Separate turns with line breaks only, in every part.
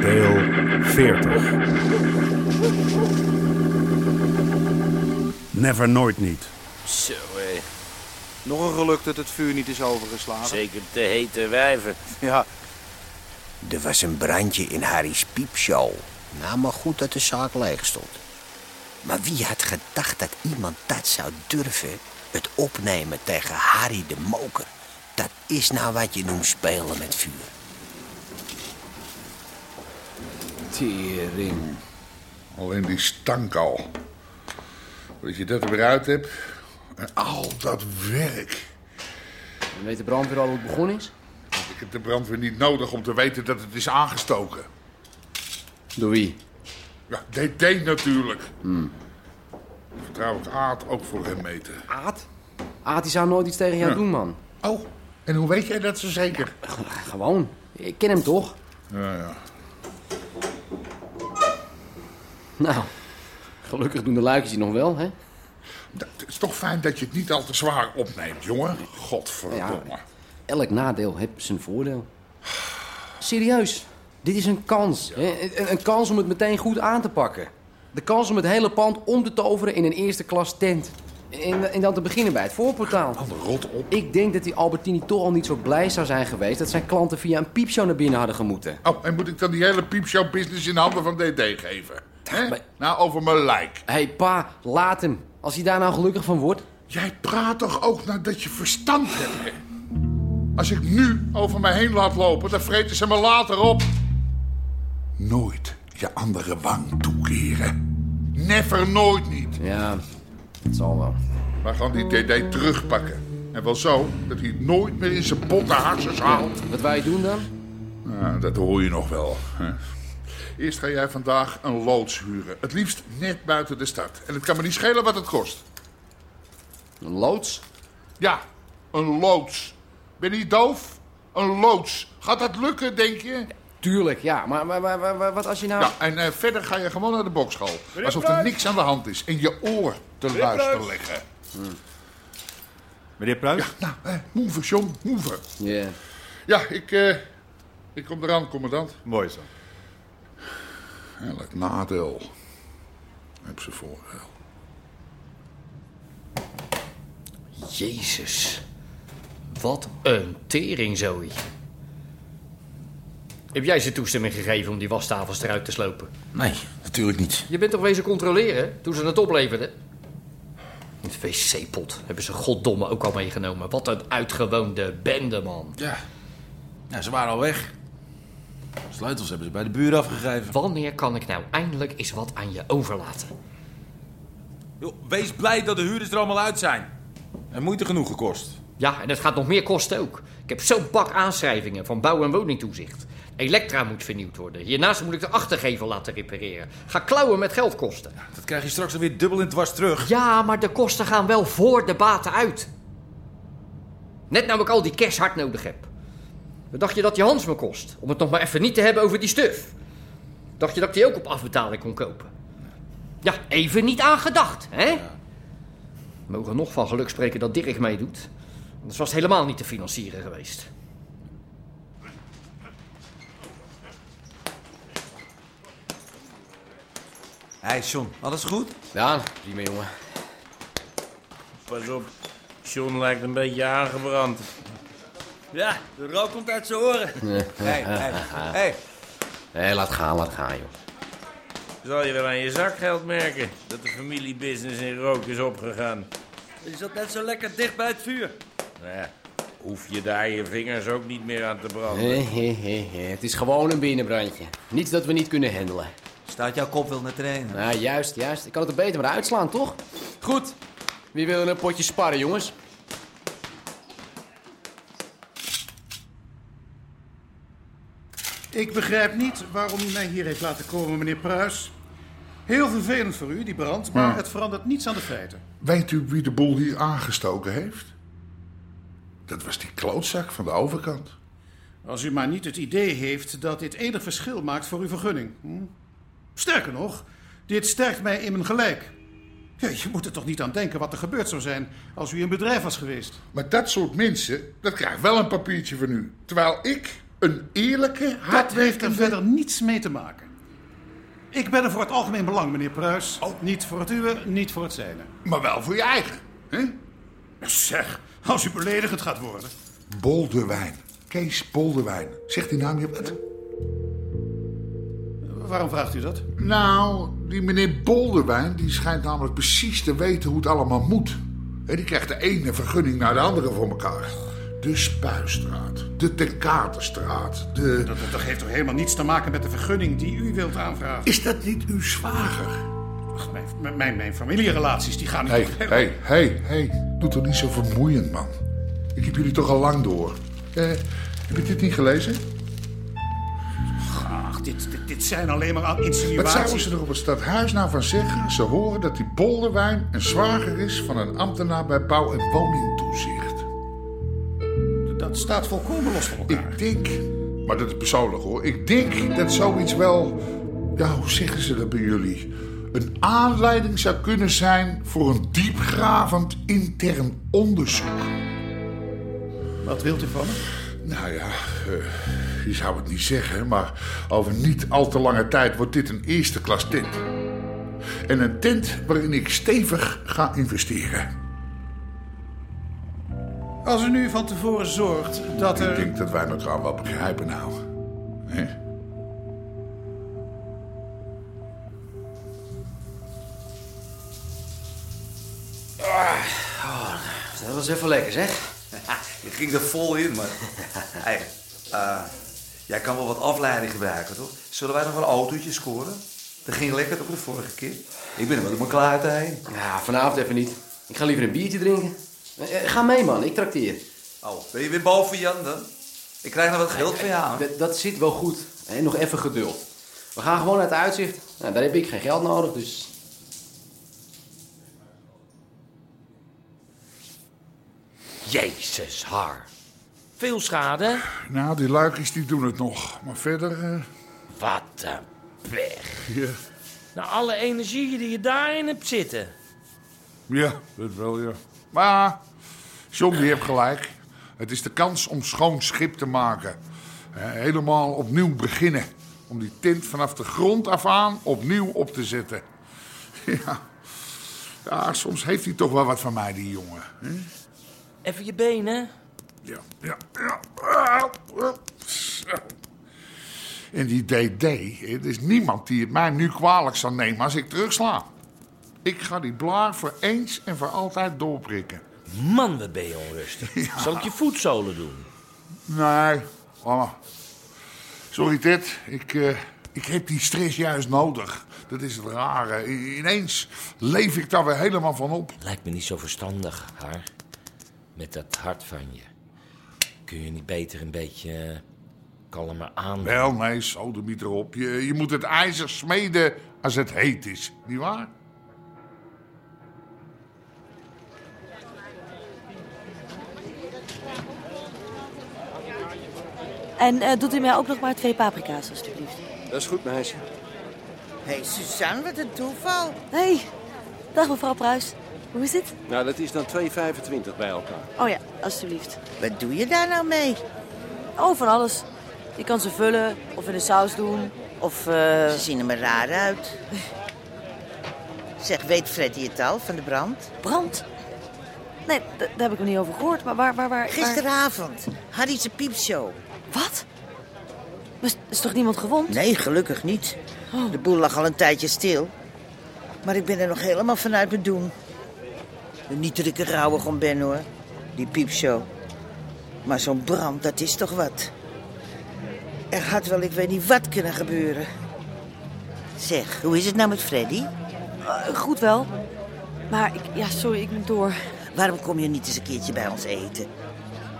Deel 40. Never nooit niet.
Zo hé,
Nog een geluk dat het vuur niet is overgeslagen.
zeker te hete wijven.
Ja,
Er was een brandje in Harry's piepshow. Nou, maar goed dat de zaak leeg stond. Maar wie had gedacht dat iemand dat zou durven? Het opnemen tegen Harry de Moker. Dat is nou wat je noemt spelen met vuur.
Tering.
Alleen die stank al. Dat je dat er weer uit hebt. En al dat werk.
En weet de brandweer al hoe het begonnen is?
Ik heb de brandweer niet nodig om te weten dat het is aangestoken.
Door wie?
Ja, DD natuurlijk.
Hmm.
Vertrouw ik Aad ook voor hem meten.
Aad? Aad die zou nooit iets tegen jou
Ja.
doen, man.
Oh, en hoe weet jij dat zo zeker?
Gewoon. Ik ken hem toch?
Ja, ja.
Nou, gelukkig doen de luikjes het nog wel, hè?
Dat is toch fijn dat je het niet al te zwaar opneemt, jongen. Godverdomme.
Ja. Elk nadeel heeft zijn voordeel. Serieus, dit is een kans. hè? Een, een kans om het meteen goed aan te pakken. De kans om het hele pand om te toveren in een eerste klas tent. En, en dan te beginnen bij het voorportaal.
Rot op.
Ik denk dat die Albertini toch al niet zo blij zou zijn geweest dat zijn klanten via een piepshow naar binnen hadden gemoeten.
Oh, en moet ik dan die hele piepshow-business in handen van DD geven? Hè? Nou, over mijn lijk.
Hé hey, pa, laat hem. Als hij daar nou gelukkig van wordt.
Jij praat toch ook nadat je verstand hebt, hè? Als ik nu over mij heen laat lopen, dan vreten ze me later op. Nooit je andere wang toekeren. Never, nooit niet.
Ja, dat zal wel.
Maar gewoon die DD terugpakken. En wel zo dat hij het nooit meer in zijn botte hartjes haalt.
Wat wij doen dan?
Nou, dat hoor je nog wel. Hè? Eerst ga jij vandaag een loods huren. Het liefst net buiten de stad. En het kan me niet schelen wat het kost.
Een loods?
Ja, een loods. Ben je niet doof? Een loods. Gaat dat lukken, denk je?
Tuurlijk, ja. Maar, maar, maar, maar- maar wat als je nou...
Ja, en eh, verder ga je gewoon naar de bokschool. Alsof er niks aan de hand is. En je oor te luisteren leggen.
Meneer Pruis?
Nou, eh, move, jong, move.
Ja.
Ja, ik, eh, ik kom eraan, commandant.
Mooi zo.
Elk nadeel heb ze voordeel.
Jezus. Wat een tering, Zoe. Heb jij ze toestemming gegeven om die wastafels eruit te slopen?
Nee, natuurlijk niet.
Je bent toch wezen controleren toen ze het opleverden? Het wc-pot hebben ze goddomme ook al meegenomen. Wat een uitgewoonde bende, man.
Ja. ja, ze waren al weg. Sleutels hebben ze bij de buur afgegeven.
Wanneer kan ik nou eindelijk eens wat aan je overlaten?
Joh, wees blij dat de huurders er allemaal uit zijn. En moeite genoeg gekost.
Ja, en het gaat nog meer kosten ook. Ik heb zo'n bak aanschrijvingen van bouw- en woningtoezicht. Elektra moet vernieuwd worden. Hiernaast moet ik de achtergevel laten repareren. Ga klauwen met geld kosten.
Dat krijg je straks alweer dubbel in dwars terug.
Ja, maar de kosten gaan wel voor de baten uit. Net nou ik al die cash hard nodig heb. Wat dacht je dat die Hans me kost? Om het nog maar even niet te hebben over die stuf. Dacht je dat ik die ook op afbetaling kon kopen? Ja, even niet aan gedacht, hè? We mogen nog van geluk spreken dat Dirk meedoet. Anders was het helemaal niet te financieren geweest.
Hé, John, alles goed?
Ja, prima jongen.
Pas op, John lijkt een beetje aangebrand. Ja, de rook komt uit zijn oren.
Hé, laat gaan, laat gaan joh.
Zal je wel aan je zakgeld merken dat de familiebusiness in rook is opgegaan.
Je zat net zo lekker dicht bij het vuur.
Nou ja, hoef je daar je vingers ook niet meer aan te branden.
Hé, hé, hé, hé. Het is gewoon een binnenbrandje. Niets dat we niet kunnen handelen.
Staat jouw kop wel naar trainen?
Nou, juist, juist. Ik kan het er beter maar uitslaan, toch? Goed. Wie wil er een potje sparren, jongens?
Ik begrijp niet waarom u mij hier heeft laten komen, meneer Pruis. Heel vervelend voor u, die brand, maar
Ja.
het verandert niets aan de feiten.
Weet u wie de boel hier aangestoken heeft? Dat was die klootzak van de overkant.
Als u maar niet het idee heeft dat dit enig verschil maakt voor uw vergunning. Hm? Sterker nog, dit sterkt mij in mijn gelijk. Ja, je moet er toch niet aan denken wat er gebeurd zou zijn als u een bedrijf was geweest.
Maar dat soort mensen, dat krijgt wel een papiertje van u. Terwijl ik een eerlijke,
Dat heeft er
hardwerkende...
verder niets mee te maken. Ik ben er voor het algemeen belang, meneer Pruis. Niet voor het uwe, niet voor het zijne.
Maar wel voor je eigen. Hè?
Zeg, als u beledigend gaat worden.
Boldewijn. Kees Boldewijn. Zegt die naam je wat?
Waarom vraagt u dat?
Nou, die meneer Boldewijn die schijnt namelijk precies te weten hoe het allemaal moet. En die krijgt de ene vergunning naar de andere voor elkaar. De Spuistraat, de Terkaterstraat, de...
Dat, dat heeft toch helemaal niets te maken met de vergunning die u wilt aanvragen?
Is dat niet uw zwager?
Ach, mijn, mijn- mijn, mijn familierelaties die gaan niet
Hé,
op-
hé, hé, hé. Doe toch niet zo vermoeiend, man. Ik heb jullie toch al lang door. Eh, heb je dit niet gelezen?
Ach, dit, dit, dit zijn alleen maar aan
Wat zouden
insinuaties.
ze er op het stadhuis nou van zeggen? Ze horen dat die Boldewijn een zwager is van een ambtenaar bij bouw- en woningtoezicht.
Dat staat volkomen los van elkaar.
Ik denk, maar dat is persoonlijk hoor, ik denk dat zoiets wel, ja hoe zeggen ze dat bij jullie, een aanleiding zou kunnen zijn voor een diepgravend intern onderzoek.
Wat wilt u van me?
Nou ja, eh, je zou het niet zeggen, maar over niet al te lange tijd wordt dit een eerste klas tent. En een tent waarin ik stevig ga investeren.
Als u nu van tevoren zorgt dat
Ik
er...
denk dat wij elkaar wel begrijpen nou. Hè?
Dat was even lekker, zeg.
Je ging er vol in, maar... hey, eh, jij kan wel wat afleiding gebruiken, toch? Zullen wij nog een autootje scoren? Dat ging lekker toch de vorige keer? Ik ben er wel op mijn klaarte heen.
Ja, vanavond even niet. Ik ga liever een biertje drinken. Eh, eh, ga mee, man. Ik trakteer.
Oh, ben je weer boven Jan dan? Ik krijg nog wat geld van jou. hè?
Dat- dat zit wel goed. Hè, nog even geduld. We gaan gewoon naar het uitzicht. Nou, daar heb ik geen geld nodig, dus...
Jezus, haar. Veel schade?
Nou, die luikjes die doen het nog. Maar verder... eh,
Wat een pech.
Ja.
Na alle energie die je daarin hebt zitten.
Ja, dat wel, ja. Maar John, die heeft gelijk. Het is de kans om schoon schip te maken. Hè, Helemaal opnieuw beginnen. Om die tent vanaf de grond af aan opnieuw op te zetten. Ja, ja soms heeft hij toch wel wat van mij, die jongen. hè?
Even je benen.
Ja, ja, ja. Ah, ah, zo. En die DD, hè, er is niemand die het mij nu kwalijk zal nemen als ik terugsla. Ik ga die blaar voor eens en voor altijd doorprikken.
Man, Hm, wat ben je onrustig. Zal ik je voetzolen doen?
Nee, mama. Sorry, Ted. Ik, eh, ik heb die stress juist nodig. Dat is het rare. I- Ineens leef ik daar weer helemaal van op.
Lijkt me niet zo verstandig, haar. Met dat hart van je. Kun je niet beter een beetje eh, kalmer aan?
Wel, nee, sodemiet erop. Je, je moet het ijzer smeden als het heet is. Niet waar?
En eh, doet u mij ook nog maar twee paprika's, alstublieft.
Dat is goed, meisje.
Hé, hey, Suzanne, wat een toeval.
Hey, dag mevrouw Pruis. Hoe is het?
Nou, dat is dan 2,25 bij elkaar.
Oh ja, alstublieft.
Wat doe je daar nou mee?
Oh, van alles. Je kan ze vullen, of in de saus doen, of... eh,
Ze zien er maar raar uit. Zeg, weet Freddy het al van de brand?
brand. Nee, d- daar heb ik nog niet over gehoord, maar waar... waar, waar waar-
Gisteravond, Harry's piepshow.
Wat? Maar is- is toch niemand gewond?
Nee, gelukkig niet.
Oh.
De boel lag al een tijdje stil. Maar ik ben er nog helemaal vanuit mijn doen. Niet dat ik er rouwig om ben hoor, die piepshow. Maar zo'n brand, dat is toch wat. Er had wel ik weet niet wat kunnen gebeuren. Zeg, hoe is het nou met Freddy?
Eh, goed wel. Maar ik, ja, sorry, ik moet door.
Waarom kom je niet eens een keertje bij ons eten?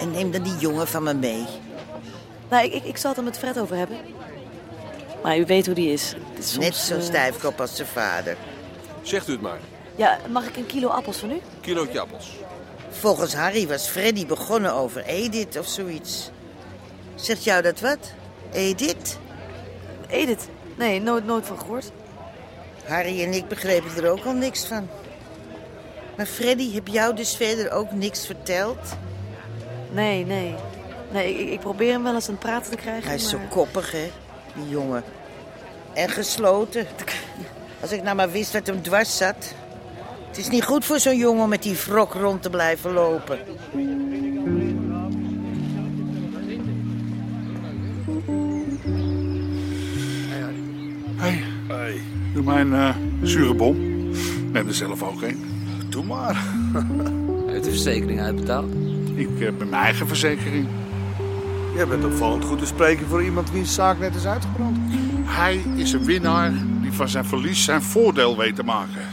En neem dan die jongen van me mee.
Nou, ik, ik, ik zal het er met Fred over hebben. Maar u weet hoe die is. Het is
Net
soms,
zo
eh,
stijfkop als zijn vader.
Zegt u het maar.
Ja, mag ik een kilo appels van u?
Kilootje appels.
Volgens Harry was Freddy begonnen over Edith of zoiets. Zegt jou dat wat? Edith?
Edith? Nee, nooit, nooit van gehoord.
Harry en ik begrepen er ook al niks van. Maar Freddy, heb jou dus verder ook niks verteld?
Nee, nee. Nee, ik, ik probeer hem wel eens aan het praten te krijgen.
Hij is zo
maar-
koppig, hè, die jongen. En gesloten. Als ik nou maar wist wat hem dwars zat. Het is niet goed voor zo'n jongen om met die wrok rond te blijven lopen.
Hey. Doe mij een eh, zure bom. Neem er zelf ook een. Doe maar.
Heeft de verzekering uitbetaald?
Ik heb mijn eigen verzekering.
Jij bent opvallend goed te spreken voor iemand wiens zaak net is uitgebrand.
Hij is een winnaar die van zijn verlies zijn voordeel weet te maken.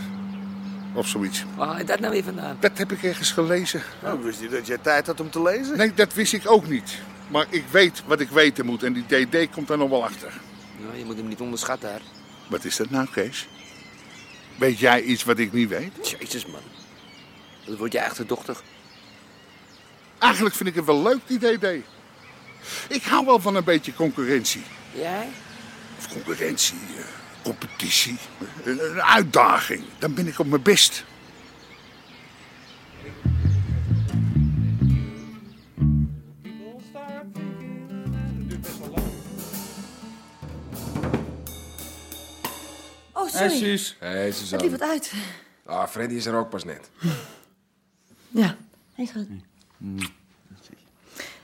Of zoiets.
Waar haal je dat nou weer vandaan?
Dat heb ik ergens gelezen.
Nou, wist niet dat jij tijd had om te lezen.
Nee, dat wist ik ook niet. Maar ik weet wat ik weten moet en die DD komt daar nog wel achter.
Nou, je moet hem niet onderschatten, hè.
Wat is dat nou, Kees? Weet jij iets wat ik niet weet?
Jezus, man. Dan word je achterdochtig.
Eigenlijk vind ik het wel leuk, die DD. Ik hou wel van een beetje concurrentie.
Jij?
Of concurrentie, eh, competitie, een, een uitdaging. Dan ben ik op mijn best.
Oh, sorry.
Hey,
Het
Suzanne.
liep wat uit.
Ah, Freddy is er ook pas net.
Ja. Hé, schat.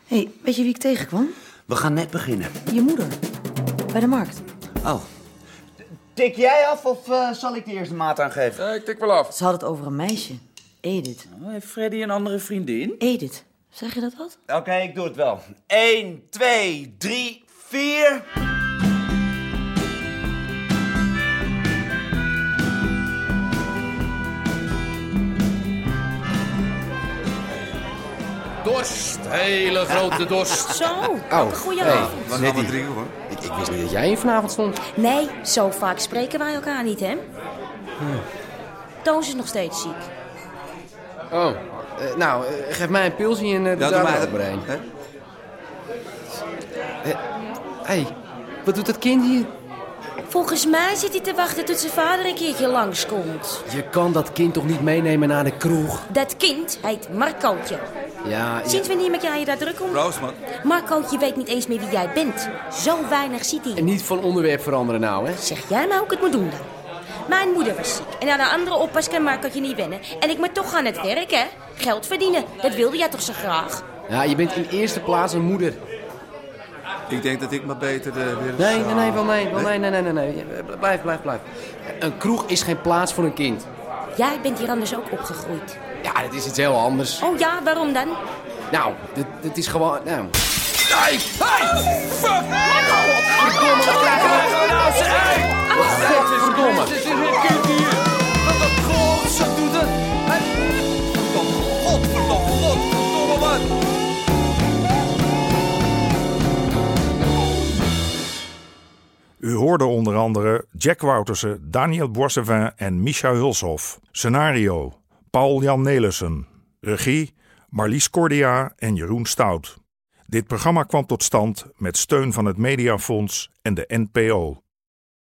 Hé, hey, weet je wie ik tegenkwam?
We gaan net beginnen.
Je moeder. Bij de markt.
Oh. Tik jij af of eh, zal ik de eerste maat aangeven? ik tik wel af.
Ze had het over een meisje. Edith.
heeft Freddy een andere vriendin?
Edith. Zeg je dat wat?
Oké, ik doe het wel. 1, 2, 3, 4.
Dorst, hele grote dorst.
Zo,
Oh,
wat een goede
hey,
avond.
nou,
wat gaan we drinken,
hoor?
Ik, ik wist niet dat jij hier vanavond stond.
Nee, zo vaak spreken wij elkaar niet, hè? Toos is nog steeds ziek.
Oh, eh, nou, eh, geef mij een pilsje en eh
Ja,
doe
doe
daar
mij
maar
dat
ook maar een. Eh, hey, wat doet dat kind hier?
Volgens mij zit hij te wachten tot zijn vader een keertje langskomt.
Je kan dat kind toch niet meenemen naar de kroeg?
Dat kind heet Marcootje.
Ja, ja.
Sinds wanneer maak jij je daar druk om?
Proost, man.
Marcootje weet niet eens meer wie jij bent. Zo weinig ziet hij.
En niet van onderwerp veranderen nou, hè?
Zeg jij nou ook het moet doen dan? Mijn moeder was ziek en aan een andere oppas kan Marcootje niet wennen. En ik moet toch aan het werk, hè? Geld verdienen, dat wilde jij toch zo graag?
Ja, je bent in eerste plaats een moeder.
Ik denk dat ik maar beter de... weer eens-
Nee, nee, nee, wel nee, wel nee, nee, nee, nee, nee. Eh, Blijf, blijf, blijf. Een kroeg is geen plaats voor een kind.
Jij bent hier anders ook opgegroeid.
Ja, dat is iets heel anders.
Oh ja, waarom dan?
Nou, dit, dit is gewoon... Nou.
Hey! Hey! Fuck!
Verdomme, wat krijgen we nou? Zeg, hey! Godverdomme.
Het is een kind hier. Wat een godse doet het. Hey! Godverdomme, godverdomme, godverdomme, man.
U hoorde onder andere Jack Woutersen, Daniel Boissevin en Micha Hulshoff. Scenario: Paul-Jan Nelissen. Regie: Marlies Cordia en Jeroen Stout. Dit programma kwam tot stand met steun van het Mediafonds en de NPO.